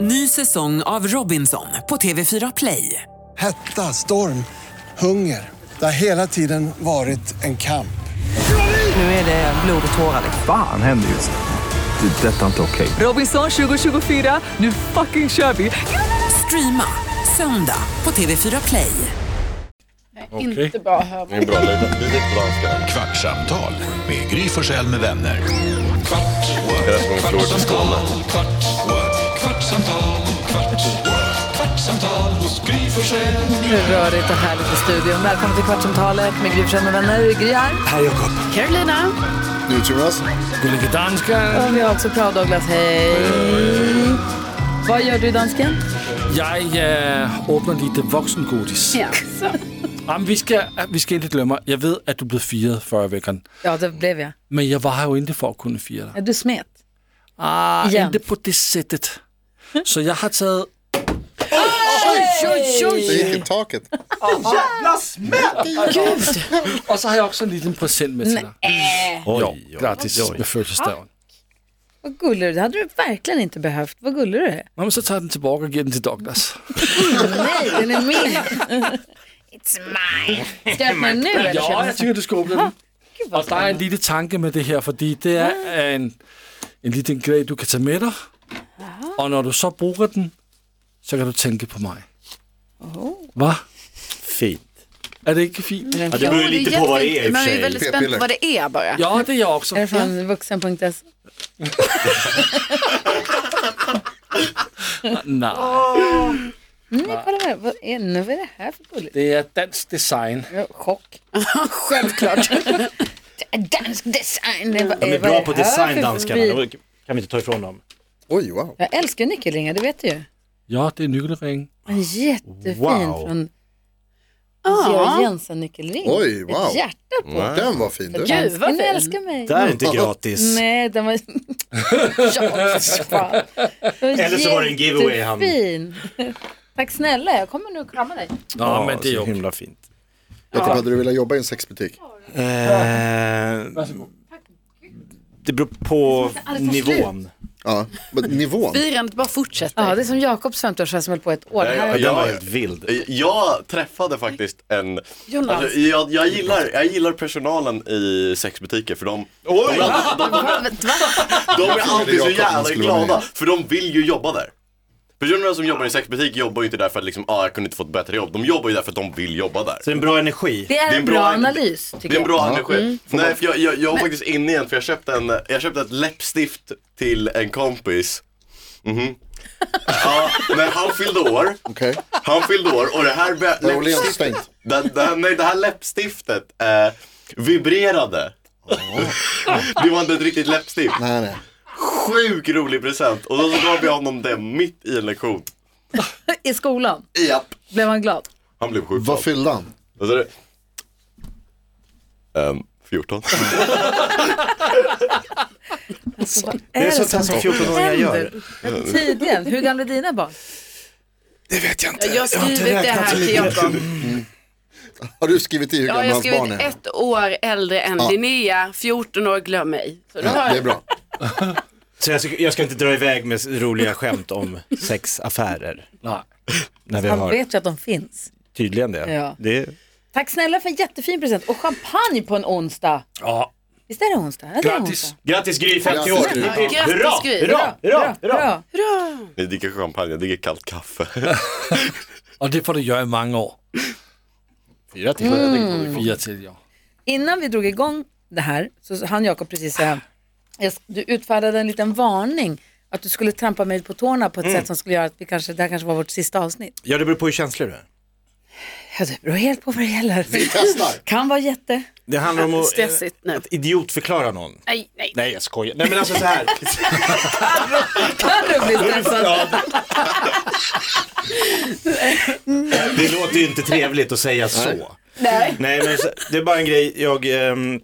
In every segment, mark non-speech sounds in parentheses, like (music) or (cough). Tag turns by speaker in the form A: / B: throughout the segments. A: Ny säsong av Robinson på TV4 Play.
B: Hetta, storm, hunger. Det har hela tiden varit en kamp.
A: Nu är det blod och tårar. liksom.
C: Fan händer just nu. Det. är Detta är inte okej.
A: Robinson 2024, nu fucking kör vi! Streama söndag på TV4 Play.
D: Inte bra hörbar.
E: Det är bra lite. Det är lite på danska.
F: Kvartsamtal med Gry Forssell med vänner. Kvart,
E: Det är som en flor till Skåne.
F: kvart, kvartsamtal, kvart, kvartsamtal hos Gry Forssell.
D: Rörigt och härligt i studion. Välkommen till Kvartsamtalet med Gry Forssell med vänner. Gry här.
B: Här Jakob.
D: Carolina.
B: NyhetsJonas.
D: Och vi har också Prao Douglas. Hej. Vad gör du dansken?
G: Jeg øh, åbner lige det voksengodis.
D: Ja.
G: Jamen, vi skal, øh, vi skal ikke glemme, jeg ved, at du blev firet før vækkeren.
D: ja, det blev jag.
G: Men jeg var her jo ikke for at kunne fire dig.
D: Är du smet?
G: Ah,
D: Ja.
G: ikke på det sættet. Så jeg har taget...
H: Det gick i taket.
G: Og så har jeg også en lille present med til dig. Jo, gratis med fødselsdagen.
D: Vad gullig du är. Det hade du verkligen inte behövt. Vad gullig du är.
G: Nå, men så tager jeg den tilbage og giver den til Douglas.
D: Nej, den är min. (laughs) It's mine. Ska jag öppna den nu eller?
G: Ja,
D: känner du
G: jeg
D: så-
G: tænker, du skal åbne den.
D: Gud, vad
G: Og der er en lille tanke med det her, fordi det er øh, en, en lille grej, du kan tage med dig. Og når du så bruger den, så kan du tænke på mig. Hvad?
I: Fint.
G: Er det ikke fint?
D: spännande.
I: Ja, det beror ju lite på vad det är i och för
J: Men vi är
I: sig.
J: väldigt spända på vad det är bara.
G: Ja, det er jeg også.
D: Är det från vuxen.se?
G: Nej,
D: Nej, kolla här. Vad är, nu, vad är det här för gulligt?
G: det er dansk design.
D: Jag har
I: (laughs)
D: Chock. (laughs) Självklart. Dansk design. Det var-
I: De är
D: vad
I: bra på
D: det här för
I: design, danskarna.
D: förbi-
I: De kan vi inte ta ifrån dem.
H: Oj, wow.
D: Jag älskar nyckelringar, det vet du ju.
G: Ja, det er nyckelring.
D: En jättefin
I: Wow.
D: från Georg Jensen-nyckelring.
H: Oj, wow. Mm.
D: Ett hjärta på.
H: Den var fin du.
J: Gud vad
D: Dansken
J: fin.
D: älskar mig.
I: Det här är inte gratis.
D: Nej, den
I: (laughs)
D: var... ja, för fan. Den
I: Eller så var det en giveaway han-
D: jättefin. Tack snälla, jag kommer nu krama dig.
G: Nå,
I: Ja,
G: men det er
I: så
G: jo...
I: himla fint.
H: Jakob, hade du velat jobba i en sexbutik?
I: Eh, det beror på nivån.
H: Ja, men nivån.
J: Firandet bara fortsätter.
D: Ja, det är som Jakobs 50-årsfest som höll på ett år. Det här
I: Ja,
D: är-
I: den var
E: Ja.
I: helt vild.
E: Jag träffade faktiskt en...
J: Jonas.
E: Alltså, jag, jag, gillar, jag gillar personalen i sexbutiker för de,
D: (laughs)
E: de, de, de är alltid så jävla glada för de vill ju jobba där. Personerna som jobbar i sexbutik jobbar ju inte där för att liksom, ah, jag kunde inte få ett bättre jobb. De jobbar ju där för att de vill jobba där.
I: Så det är en bra energi.
D: Det är en bra analys,
E: Det
D: tycker
E: är en
D: jag. Mm.
E: bra energi. Nej, för jag, jag, jag var faktiskt inne igen för jag köpte, en, jag köpte ett läppstift till en kompis. Mhm. Ja, men han fyllde år.
H: Okej.
E: Han fyllde år och det här be-
H: Det var
E: läppstiftet,
H: stängt.
E: det, det, nej, det här läppstiftet eh, vibrerade. det var inte ett riktigt läppstift.
H: Oh. Nej, nej.
E: Sjukt rolig present. Och då så gav jag honom det mitt i en lektion.
D: I skolan
E: Japp.
D: blev man glad.
E: Han blev sjukt
H: Vad
E: glad.
H: fyllde han?
E: Vad sa du? Ehm, 14.
I: Det är sånt här som 14-åringar gör.
D: Tidigen. Hur gamla är dina barn?
H: Det vet jag inte.
J: Jag har skrivit det här till Jakob.
H: Mm. Har du skrivit i hur
J: Ja,
H: gammal
J: jag har
H: hans barn
J: skrivit
H: är?
J: ett år äldre än Linnea, 14 år, glöm mig. Så då har
H: Ja, det är
J: jag
H: bra.
I: Så jag ska, jag ska inte dra iväg med s- roliga skämt om sexaffärer.
G: Nej.
I: När vi
D: Han
I: har
D: vet ju att de finns.
I: tydligen det.
D: Ja.
I: det är,
D: Tack snälla för en jättefin present och champagne på en onsdag.
G: Ja,
D: Visst är det onsdag? Ja, det är
G: Grattis.
I: grattis Gry, 50 år!
H: Grattis, Gry.
I: Hipp, hipp.
J: Grattis,
I: Hurra,
J: Gry.
I: hurra, hurra,
D: Bra, Mm.
I: hurra!
D: bra.
E: Jag dricker champagne, jag dricker kallt kaffe.
G: og det får du gøre i mange år.
I: Fyra till.
G: Fire til i år.
D: Innan vi drog igång det här så han Jakob precis säga, jag- du utfärdade en liten varning att du skulle trampa mig på tårna på ett sätt som skulle göra att vi kanske, det här kanske var vårt sista avsnitt.
I: Ja, det beror på hur känslig du är.
D: Ja, det beror helt på vad det gäller.
H: Vi testar.
D: Kan vara jätte.
I: Det handlar om att, eh,
J: stressigt nu.
I: att idiotförklara någon.
J: Nej, nej.
I: Nej jag skojar. Nej men alltså så (laughs) här.
D: Kan du bli stressad?
I: Det låter ju inte trevligt att säga så. Nej. Nej men så- det är bara en grej. Jag, ehm,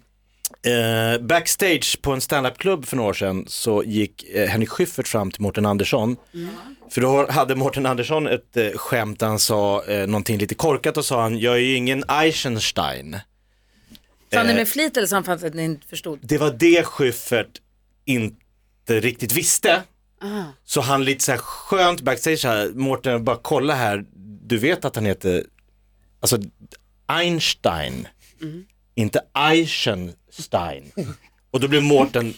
I: eh, backstage på en standupklubb för några år sedan så gick eh, Henrik Schyffert fram till Mårten Andersson. För då har- hade Mårten Andersson ett eh, skämt där han sa eh, någonting lite korkat och sa han, jag är ju ingen Eisenstein.
D: Sa
I: Eh.
D: ni med flit eller sa han för att ni inte förstod?
I: Det var det Schyffert inte riktigt visste. Så han lite så här skönt backstage så här, Mårten bara kolla här, du vet att han heter, alltså Einstein,
D: Mm.
I: inte Eisenstein. Och då blev Mårten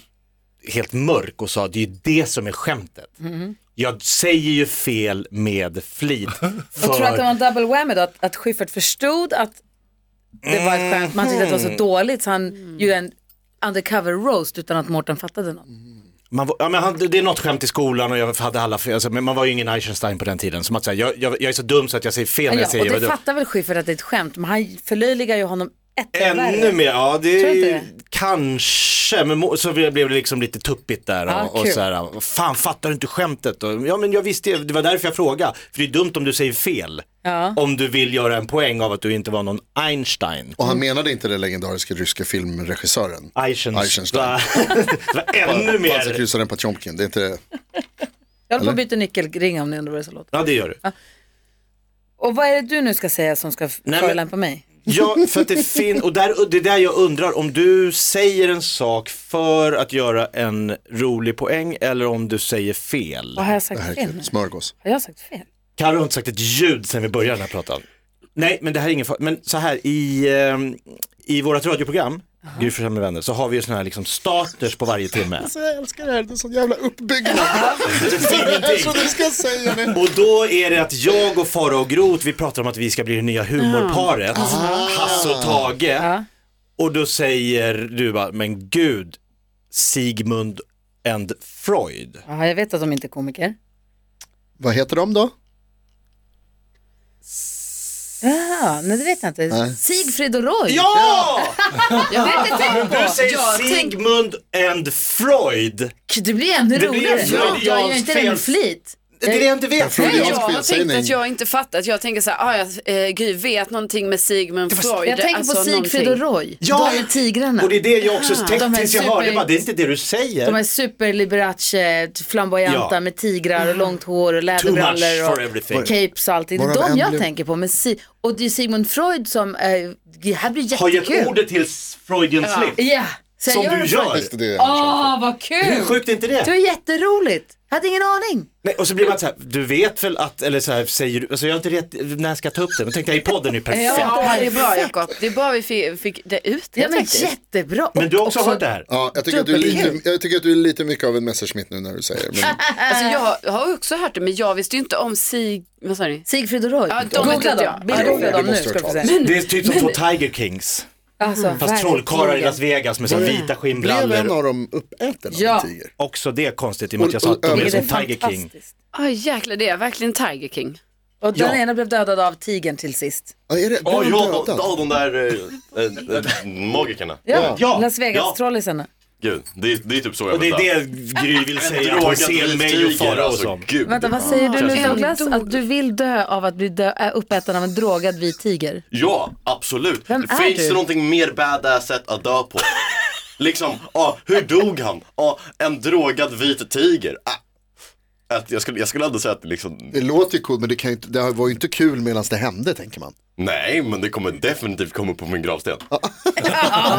I: helt mörk och sa det är ju det som är skämtet.
D: Mm.
I: Jag säger ju fel med flit.
D: Och tror att det
I: för-
D: var en double whammy då, att, att Schyffert förstod att det var ett skämt, man tyckte att det
I: Mm.
D: var så dåligt så han gjorde en undercover roast utan att Mårten fattade något.
I: Man var, ja, men han, det är något skämt i skolan och jag hade alla fel, alltså, men man var ju ingen Eisenstein på den tiden. Som att säga, jag, jag, jag är så dum så att jag säger fel när jag
D: Ja, och
I: säger
D: det
I: vad du...
D: fattar väl Schyffert att det är ett skämt, men han förlöjligar ju honom ett
I: Ännu mer, ja det
D: Tror du inte
I: är
D: det?
I: kanske, men mo- så blev det liksom lite tuppigt där och,
D: Ah,
I: och
D: kul.
I: så här, fan fattar du inte skämtet? Och, ja men jag visste, ju, det var därför jag frågade, för det är dumt om du säger fel.
D: Ja.
I: Om du vill göra en poäng av att du inte var någon Einstein.
H: (laughs) Och han menade inte den legendariska ryska filmregissören.
I: Eisenstein.
H: Eisenstein.
I: (laughs) det var ännu
H: Alltså
I: mer.
H: kryssaren på Tjomkin, det är inte...
D: Jag håller på att byta nyckelring om ni undrar vad det är som låter.
I: Ja det gör du.
D: Och vad är det du nu ska säga som ska f-
I: men-
D: förolämpa mig?
I: Ja, för att det finns, och där, och det är där jag undrar om du säger en sak för att göra en rolig poäng eller om du säger fel.
D: Vad har jag
H: Det här
D: sagt
H: är
D: fel? nu?
H: kul. Smörgås.
D: Har jag sagt fel?
I: Carro har inte sagt ett ljud sedan vi började den här pratan. Nej, men det här är ingen fara. Men så här, i, ehm, i vårt radioprogram, Gry Forssell med vänner, så har vi ju såna här liksom starters på varje timme.
H: Alltså, jag älskar det här, det är sån jävla (laughs) uppbyggnad.
I: Ingenting.
H: Så du ska säga det.
I: Och då är det att jag och Farao och Groth, vi pratar om att vi ska bli det nya humorparet,
D: Mm.
I: Hasse och Tage. Och då säger du bara, men gud, Sigmund and Freud.
D: Ja, jag vet att de inte är komiker.
H: Vad heter de då?
D: Ja, nej det vet jag inte.
H: Nej.
D: Sigfrid och Roy.
I: Ja!
D: Jag vet inte.
I: Du säger
J: Jag
I: Sigmund and Freud.
D: Det blir ännu
I: Det blir
D: roligare.
I: en
D: jag gör
I: freudiansk
D: inte det med
I: fel-
D: flit.
I: Det är det jag inte vet.
H: Freudiansk
J: Nej, jag
H: Freudiansk
J: har tänkt
H: felsägning.
J: att jag inte fattat. Jag tänker så här, ah, jag, eh, Gry vet någonting med Sigmund Freud.
D: Jag tänker på
J: Alltså,
D: Sigfrid
J: någonting.
D: och Roy.
I: Ja.
D: De är tigrarna.
I: Och det är det jag också
D: De
I: tänkte
D: är
I: tills jag
D: super-
I: hörde, jag bara, det är inte det du
D: De
I: säger.
D: är superliberace, flamboyanta
I: Ja.
D: med tigrar och långt hår och
I: Too much
D: läderbrallor
I: for
D: och
I: everything.
D: capes och allt. Det
H: Varav
D: är de
H: en
D: jag
H: blev-
D: tänker på. Men si- och det är Sigmund Freud som, eh, det här blir
I: Har gett
D: jättekul.
I: ordet till Freudian slip.
D: Ja, så jag
I: Som
D: gör
I: du
D: det.
I: gör.
H: Just det.
D: Åh, vad
I: Hur
D: kul!
I: sjukt är inte det?
D: Det var jätteroligt. Jag hade ingen aning.
I: Nej, och så blir man så här, du vet väl att, eller så här säger du, alltså jag har inte rätt, när jag ska ta upp det, men tänkte jag i podden är ju perfekt.
J: Ja, det är bra Jakob. Det är bra vi fick, fick det ut det
D: Ja, men
J: faktiskt.
D: jättebra.
I: Men du har
D: Och-
I: också
D: också-
I: hört det här?
H: Ja, jag tycker, att du är
J: E.
D: Dubbelkul.
H: lite, jag tycker att du är lite mycket av en Messerschmitt nu när du säger det. Men
J: Alltså, jag har- jag har också hört det, men jag visste ju inte om Sig... Vad sa ni?
D: Sigfrid och Roy.
J: Ja, de vet
D: Googla
J: inte
D: dem.
J: jag.
D: Bildgoogla
H: Ja,
D: dem
H: det
D: nu
H: måste
D: ska du
H: jag
D: få
H: ta.
D: se.
I: Det är typ som två Tiger Kings,
D: Alltså,
I: fast
D: verkligen.
I: trollkarlar i Las Vegas med så här vita
H: blev en
I: skinnbrallor.
H: av dem uppäten av
D: Ja.
H: en tiger?
I: Också det är konstigt i och med att jag sa att de
H: Och-
I: är
H: och-
I: som
D: Det är
I: Tiger King.
D: fantastiskt.
J: Ja jäklar, det är verkligen Tiger King.
D: Och den
I: Ja.
D: ena blev dödad av tigern till sist.
H: Ja, är det,
E: Ja,
H: blev de
E: ja, de,
H: dödade?
E: ja, de där eh, eh, eh, (laughs) magikerna.
D: Ja,
I: Ja.
D: Las
E: Ja.
D: Vegas-trollisarna.
E: Gud, det, är- det är typ så jag
I: Och det är
E: vill ha.
I: det Gry vill säga, att hon ser mig och Farao som.
E: Gud.
D: Vänta, vad säger du nu
J: Känns det-
D: Douglas?
J: En
D: Att du vill dö av att bli dö- äh, uppäten av en drogad vit tiger?
E: Ja, absolut.
D: Vem är
E: Finns
D: du?
E: det någonting mer badass sätt att dö på? liksom, ah, hur dog han? Ah, en drogad vit tiger. Ah. Att jag, skulle, jag skulle aldrig säga att det liksom,
H: Det låter ju coolt men det, kan ju inte, det var ju inte kul medan det hände tänker man.
E: nej men det kommer definitivt komma upp på min gravsten. (laughs)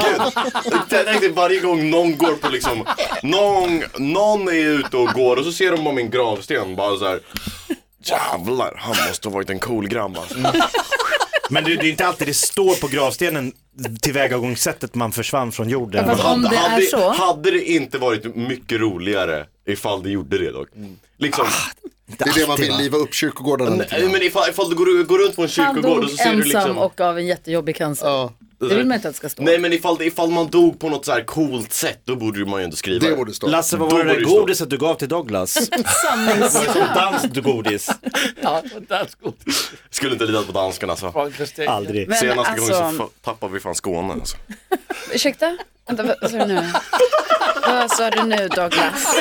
E: Gud, jag tänkte varje gång någon går på liksom, någon, någon är ute och går och så ser de på min gravsten bara så här. Jävlar, han måste ha varit en cool grabb alltså.
I: Men det, det är inte alltid det står på gravstenen tillvägagångssättet man försvann från jorden.
D: Ja, fast- Om det är
E: hade,
D: så.
E: hade det inte varit mycket roligare ifall det gjorde det dock?
D: Ah,
E: Liksom,
H: Det är det man
I: alltid,
H: vill,
I: va?
H: liva upp kyrkogårdarna lite
E: nej,
H: grann.
E: men ifall, ifall du går, går runt på en
D: Han
E: kyrkogård
D: dog
E: och så ser
D: ensam
E: du liksom
D: och av en jättejobbig cancer.
H: Ja,
D: Det vill man inte att det ska stå.
E: Nej men ifall, ifall man dog på något så här coolt sätt då borde man ju inte skriva
H: det borde stå.
I: Lasse, vad
E: Då
I: var det
E: var
I: där
E: det ju så.
I: godiset du gav
D: (laughs)
I: till Douglas?
D: Sannings...
I: Var det som dansgodis?
D: Ja.
E: Skulle inte lida på danskarna alltså.
I: Aldrig.
J: Men
E: Senaste gången så
J: alltså,
E: fa- tappade vi fan
D: (laughs)
E: Skåne alltså.
J: ursäkta? Vänta, vad vad sa du nu? Vad sa du nu Douglas?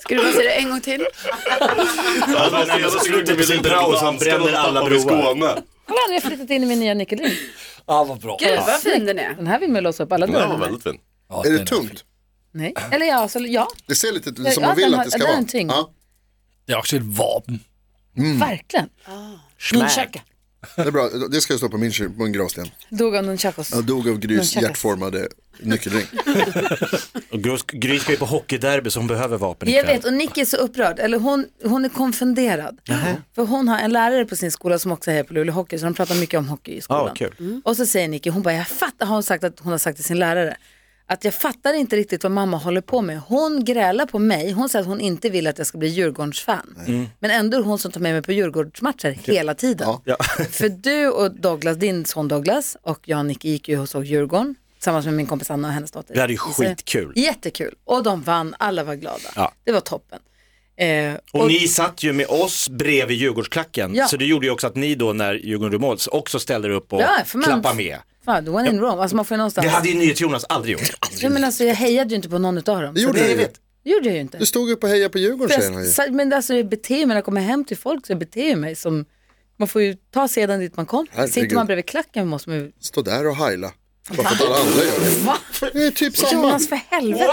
J: Ska du bara säga det en gång till?
E: alltså
I: nej, men så slutar vi sin paus, han bränner alla broar.
E: Skåne.
D: Kolla, nu har jag flyttat in i min nya nyckelring.
G: Ah, vad bra.
J: Gud vad fin den är.
D: Den här vill man ju låsa upp alla
E: Det
D: dörrar
E: var
D: med.
E: väldigt fint.
G: Ja,
H: Är
G: den
H: det tungt?
D: Nej. Eller ja, så, ja
H: Det ser lite
D: Ja,
H: som man
D: den
H: vill
D: har-
H: att det ska
D: den har
H: vara. Mm.
D: en tyngd.
H: Ja.
G: Det är också ett vapen.
J: Ah.
D: verkligen.
I: Schmack.
E: Det är bra, det ska jag stå på min, kyl- på min gravsten.
D: Dog av nunchakos.
E: Jag dog av Grys hjärtformade nyckelring.
I: Och Grys- Grys ska ju på hockeyderby så hon behöver vapen
D: Jag
I: ikväll.
D: vet, och Nicky är så upprörd, eller hon, hon är konfunderad. För hon har en lärare på sin skola som också hejar på Luleå Hockey, så de pratar mycket om hockey i skolan.
I: Ah, kul.
D: Och så säger Nicky, hon bara, jag fattar, har hon sagt att hon har sagt till sin lärare, att jag fattar inte riktigt vad mamma håller på med. Hon grälar på mig, hon säger att hon inte vill att jag ska bli Djurgårdens-fan. Men ändå är det hon som tar med mig på Djurgårdsmatcher hela tiden. (laughs) För du och Douglas, din son Douglas och jag och Nicky gick ju och såg Djurgården tillsammans med min kompis Anna och hennes dotter.
I: Det hade ju
D: Isa.
I: skitkul.
D: Jättekul. Och de vann, alla var glada.
I: Ja.
D: Det var toppen. Eh,
I: Och ni satt ju med oss bredvid Djurgårdsklacken,
D: Ja.
I: så det gjorde ju också att ni då när Djurgården gjorde mål så också ställde er upp och
D: Ja, för man-
I: klappade med.
D: Fan, the one in Rome. Alltså man får ju någonstans.
I: Det hade ju NyhetsJonas aldrig (laughs) gjort.
D: Nej, men alltså, jag hejade ju inte på någon av dem.
E: Det
D: Så
E: gjorde du ju.
D: det gjorde jag ju inte.
E: Du stod upp och hejade på Djurgården säger han ju.
D: Sa- Men alltså, jag beter mig, när jag kommer hem till folk så jag beter jag mig som, man får ju ta sedan dit man kom.
E: Herregud.
D: Sitter man bredvid klacken måste man ju,
E: Stå där och heila. Varför att alla andra gör det.
D: va?
E: Det är typ samma.
D: Jonas för helvete,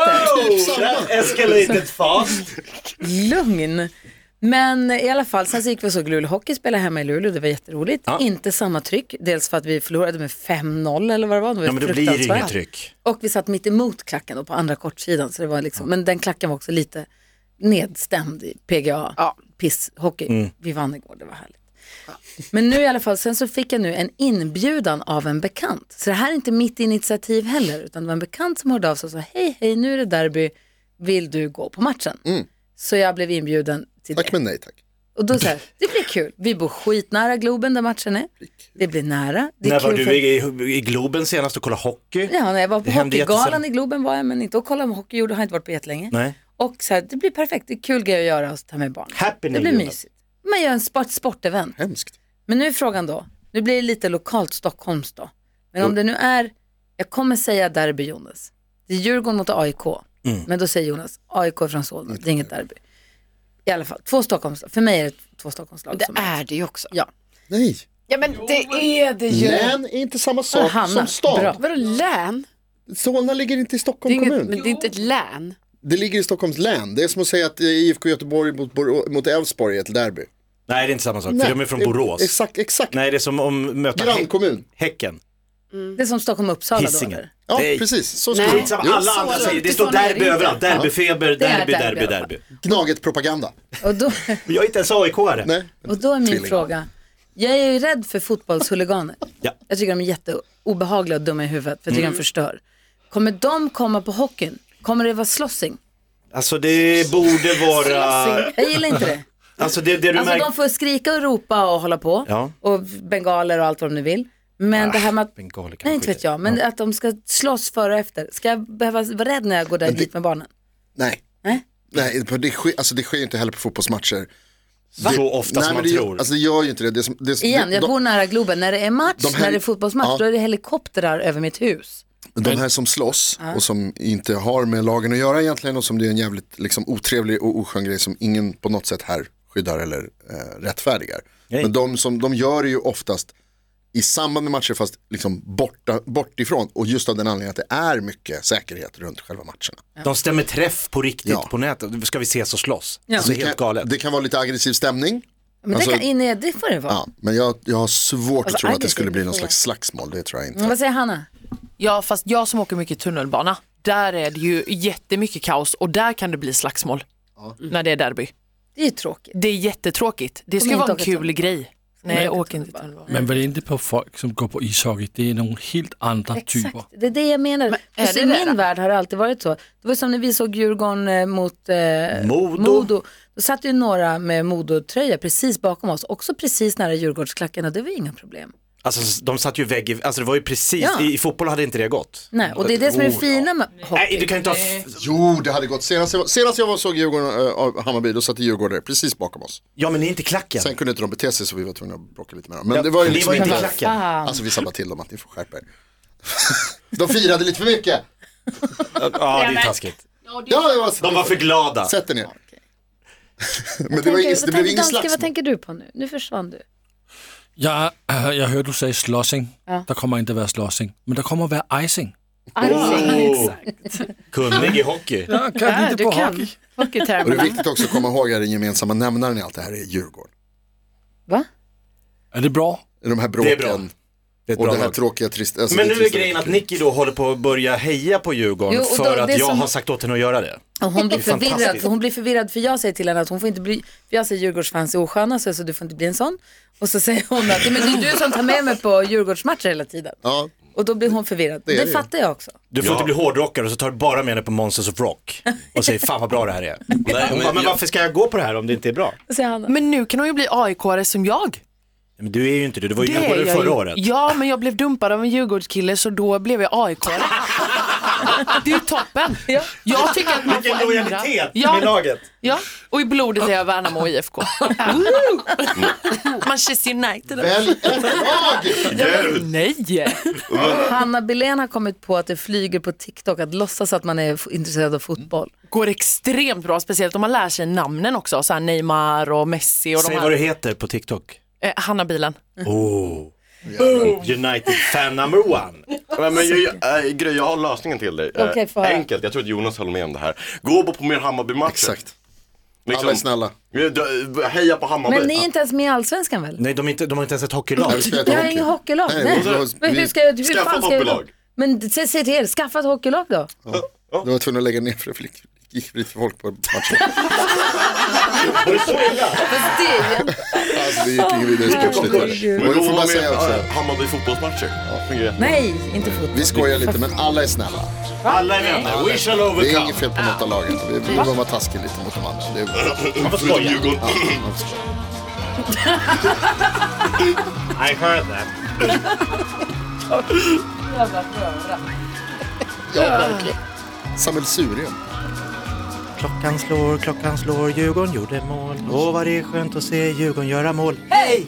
I: Escalated fast.
D: lugn. Men i alla fall, sen så gick vi och såg Luleå Hockey spela hemma i Luleå, det var jätteroligt. Inte samma tryck, dels för att vi förlorade med 5-0 eller vad det var. Det var
I: Ja men det blir inget
D: fruktansvärt.
I: tryck.
D: Och vi satt mitt emot klacken då på andra kortsidan. Så det var liksom, Men den klacken var också lite nedstämd i PGA, pisshockey.
I: Mm.
D: Vi vann igår, det var härligt. Men nu i alla fall, sen så fick jag nu en inbjudan av en bekant. Så det här är inte mitt initiativ heller, utan det var en bekant som hörde av sig och sa hej, hej, nu är det derby, vill du gå på matchen? Så jag blev inbjuden till det.
E: Tack men nej tack.
D: Och då så här, det blir kul. Vi bor skitnära Globen där matchen är. Det blir nära. Det är
I: När var
D: kul för-
I: du i, i Globen senast och kollade hockey?
D: Ja, när jag var på
I: Det hände
D: hockeygalan
I: jättesällan.
D: i Globen var jag, men inte och kollade om hockey gjorde har jag inte varit på jättelänge.
I: Nej.
D: Och så här, det blir perfekt, det är kul grej att göra och ta med barn.
I: Happening,
D: det blir
I: Jonas.
D: mysigt. Man gör en sport, sportevent.
E: Hemskt.
D: Men nu är frågan då, nu blir det lite lokalt Stockholms då. Men om det nu är, jag kommer säga derby Jonas. Det är Djurgården mot AIK.
E: Mm.
D: Men då säger Jonas, AIK är från Solna, det är inget derby. I alla fall, två Stockholms, för mig är det två Stockholmslag.
B: Det
D: som
B: är det ju också.
D: Ja.
E: Nej.
B: Ja men det är det ju.
E: Län är inte samma sak
D: Hanna,
E: som stad.
D: bra.
B: Vadå län?
E: Solna ligger inte
B: Det
E: i
B: är
E: Stockholm
B: inget,
E: kommun.
B: men det är inte ett län.
E: Det ligger i Stockholms län. Det är som att säga att eh, IFK Göteborg mot Bor- mot Elfsborg är ett derby.
I: Nej det är inte samma sak, för de är från
E: det-
I: Borås.
E: Exakt, exakt.
I: Nej det är som om möta häck,
E: Grannkommun.
I: Häcken.
D: Det är som Stockholm-Uppsala då.
I: Hisingen.
D: eller?
E: Ja,
I: Nej.
E: precis. Så ska
B: Nej.
E: det
I: Skitsamma,
E: Jo,
I: alla
B: så
I: andra
B: långt
I: säger det står
B: ifrån är det
I: derby
B: inte.
I: överallt, derbyfeber,
D: Det är
I: derby,
D: derby,
I: derby,
D: ja.
I: derby.
E: Gnaget propaganda.
D: Och då...
I: Jag är inte ens AIK-are.
E: Nej.
D: Och då är min
E: Tvilling.
D: fråga, jag är ju rädd för fotbollshuliganer.
I: Ja. Mm.
D: Jag tycker de är jätteobehagliga och dumma i huvudet, för jag tycker de förstör. Kommer de komma på hockeyn? Kommer det vara slossing?
I: Alltså det borde
D: (laughs)
I: vara,
D: Jag gillar inte det.
I: alltså det, det (laughs) du
D: Alltså
I: märker,
D: de får skrika och ropa och hålla på,
I: Ja. Ah,
D: och bengaler och allt vad de nu vill. Men det här med att,
I: bengaler kan
D: nej
I: man
D: inte
I: skita
D: vet jag, men att de ska slåss före och efter. Ska jag behöva vara rädd när jag går där dit med barnen?
E: Nej.
D: Nej.
E: Nej, på- det sker, alltså det sker ju inte heller på fotbollsmatcher.
I: så ofta
E: Nej,
I: som
E: men
I: man
E: det, gör-
I: tror.
E: Alltså det gör ju inte det. det, är som, det är som-
D: Igen,
E: de,
D: jag bor nära Globen. När det är match,
E: de här-
D: när det är fotbollsmatch,
E: Ja.
D: då är det helikoptrar över mitt hus.
E: de här som slåss och som inte har med lagen att göra egentligen och som det är en jävligt liksom, otrevlig och oskön grej som ingen på något sätt här skyddar eller eh, rättfärdigar. Men de, som, de gör det ju oftast i samband med matcher fast liksom borta, bortifrån och just av den anledningen att det är mycket säkerhet runt själva matcherna.
I: De stämmer träff på riktigt
E: alltså- Ja.
I: på nätet. Ska vi ses och slåss?
D: Ja.
I: Alltså
E: det,
I: helt
E: kan,
I: galet.
E: det kan vara lite aggressiv stämning.
D: Men
E: Alltså-
D: det, kan, nej, det får det vara.
E: Ja, men jag, jag har svårt
D: Alltså,
E: att tro att det skulle
D: aggressiv,
E: bli
D: det
E: någon
D: får
E: slags slagsmål, det tror jag inte.
D: Mm, Vad säger Hanna?
A: Ja, fast jag som åker mycket tunnelbana, där är det ju jättemycket kaos och där kan det bli slagsmål Mm. när det är derby.
D: Det är ju tråkigt.
A: Det är jättetråkigt. Det
D: Kom
A: ska
D: igen,
A: vara en
D: åka
A: kul
D: tunnelbana.
A: grej. Nej, jag
D: åka
A: åker inte
D: tunnelbana.
A: tunnelbana.
G: Man vil inte på folk, som går på ishockey. Det är någon helt andra typer.
D: Exakt, det är det jag menar.
A: är
D: För
A: det
D: I
A: det
D: min
A: då?
D: värld har det alltid varit så. Det var som när vi såg Djurgården eh, mot eh,
I: Modo.
D: Då satt ju några med Modo-tröja precis bakom oss, också precis nära Djurgårdsklacken och det var inga problem.
I: Alltså de satt ju vägg i, alltså det var ju precis,
D: Ja.
I: i, i fotboll hade inte det gått.
D: Nej, och det är det som är det
I: Oh,
D: fina med
I: Nej,
D: hockey.
I: du kan inte ha, f-
E: Jo, det hade gått. Senast jag, var- senast jag var såg Djurgården eh, av Hammarby, då satt Djurgårdare precis bakom oss.
I: ja men ni är inte klacken.
E: Sen kunde inte de bete sig så vi var tvungna att bråka lite med dem. Men det var ju
I: ni
E: liksom
I: var inte i
E: inte...
I: klacken.
E: Alltså vi sa bara till dem att ni får skärpa er. (laughs) de firade lite för mycket.
I: Ja det är ju taskigt.
E: Ja, det var...
I: De var för glada.
E: Sätt er ner. (laughs) Men det, var ingen, det blev ingen
D: Vad
E: slagsmål.
D: tänker du på nu? Nu försvann du.
G: Jeg, øh, jeg hørte, du sagde slossing. Der kommer ikke at være slossing, men der kommer at være icing.
I: Oh. Kunnig i hockey.
G: Ja, kan ja, lide
B: du
G: på
B: kan.
G: hockey.
E: Och det är
B: Hockeytermerna.
E: viktigt också att komma ihåg att den gemensamma nämnaren i allt det här är Djurgården.
D: Va?
G: Er det bra?
H: de här bråken.
I: Det är bra. Det är ett
H: och
I: bra
H: det här
I: lag.
H: tråkiga, trist, alltså
I: Men
H: det
I: nu är
H: trista-
I: grejen att Nicky då håller på att börja heja på Djurgården
D: Jo, och då-
I: för
D: det
I: att jag
D: som-
I: har sagt åt henne att göra det.
D: Och hon, blir
I: Det är
D: förvirrad,
I: fantastiskt.
D: hon blir förvirrad för jag säger till henne att hon får inte bli, för jag säger Djurgårdsfans är osköna så, så du får inte bli en sån. Och så säger hon att "Men det är du som tar med mig på Djurgårdsmatcher hela tiden.
H: Ja.
D: Och då blir hon förvirrad.
I: Det är
D: Det,
I: det ju.
D: fattar jag också.
I: Du får
D: Ja.
I: inte bli hårdrockare och så tar du bara med henne på Monsters of Rock och säger fan vad bra
D: (laughs)
I: det här är. Hon bara,
D: men
I: men,
D: jag-
I: varför ska jag gå på det här om det inte är bra?
K: Men nu kan hon ju bli AIK-are som jag.
I: Men du är ju inte det, du var ju
K: Det är
I: Djurgårdare
K: jag
I: förra
K: ju.
I: året.
K: Ja, men jag blev dumpad av en Djurgårdskille så då blev jag AIK.
G: (laughs)
K: Det är ju toppen. Jag tycker att man
I: Vilken
K: får ändra.
I: lojalitet med laget.
K: Ja, och i blodet är jag Värnamo och
E: (laughs)
K: IFK. (laughs)
E: Mm.
K: Manchester United.
H: Välj ett
K: lag! Nej!
D: Hanna Billén har kommit på att det flyger på TikTok att låtsas att man är f- intresserad av fotboll.
K: Går extremt bra, speciellt om man lär sig namnen också. Så här Neymar och Messi och
I: Säg
K: de
I: vad
K: här.
I: du heter på TikTok.
K: Eh, Hanna Bilen.
I: Oh. United fan number one.
E: Nej, men jag, jag, äh, Gry, jag har lösningen till dig. Eh,
I: Okej, få höra.
E: Enkelt, jag tror att Jonas håller med om det här. Gå bara på mer Hammarby-matcher. Liksom- Exakt.
H: Alla är snälla.
E: eh, Heja på Hammarby.
D: Men ni är inte ens med i Allsvenskan väl?
I: Nej, de, är inte, de har inte ens ett hockeylag.
D: (laughs) Ni har inget hockeylag. Nej. Men hur ska jag, hur
H: Skaffa
D: fan ska jag då?
H: hockeylag.
D: Men säg säg till er, skaffa ett hockeylag då.
H: Ja. Du var tvungen att lägga ner för det gick- gick för lite folk på
E: (laughs)
H: matchen.
D: Fast det är ju-
H: Alltså, det gick ju vidare i sportsligt. Och
E: Men
H: jag
E: gå
H: får bara
E: med,
H: säga också.
E: eh, Hammarby fotbollsmatcher. Fungerar jättebra.
D: Nej, inte fotboll.
H: Vi skojar lite men alla är snälla.
I: Alla är vänner. We shall overcome.
H: Det är inget fel på något av lagen. Vi vi behöver vara taskiga lite mot de andra. Det är bra.
I: Man får skoja.
H: Ja, man får skoja.
I: I heard that.
H: Ja, verkligen. Sammelsurium.
I: Klockan slår, klockan slår, Djurgården gjorde mål. Åh vad det är skönt att se Djurgården göra mål.
D: Hej!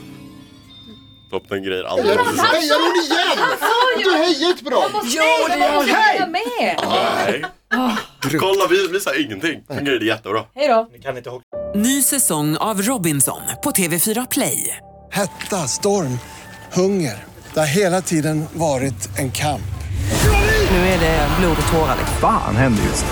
E: Toppen grejer
H: Hejar
E: alldeles.
H: hon- hejar hon igen? Du hejar inte på dem.
D: Jo, det gör jag. Hej! med.
E: Nej. Kolla, vi blir så här ingenting. Fungerar det jättebra.
D: Hej då.
I: Kan inte hockey.
A: Ny säsong av Robinson på TV4 Play.
B: Hetta, storm, hunger. Det har hela tiden varit en kamp.
A: Nu är det blod och tårar.
C: Fan händer just det.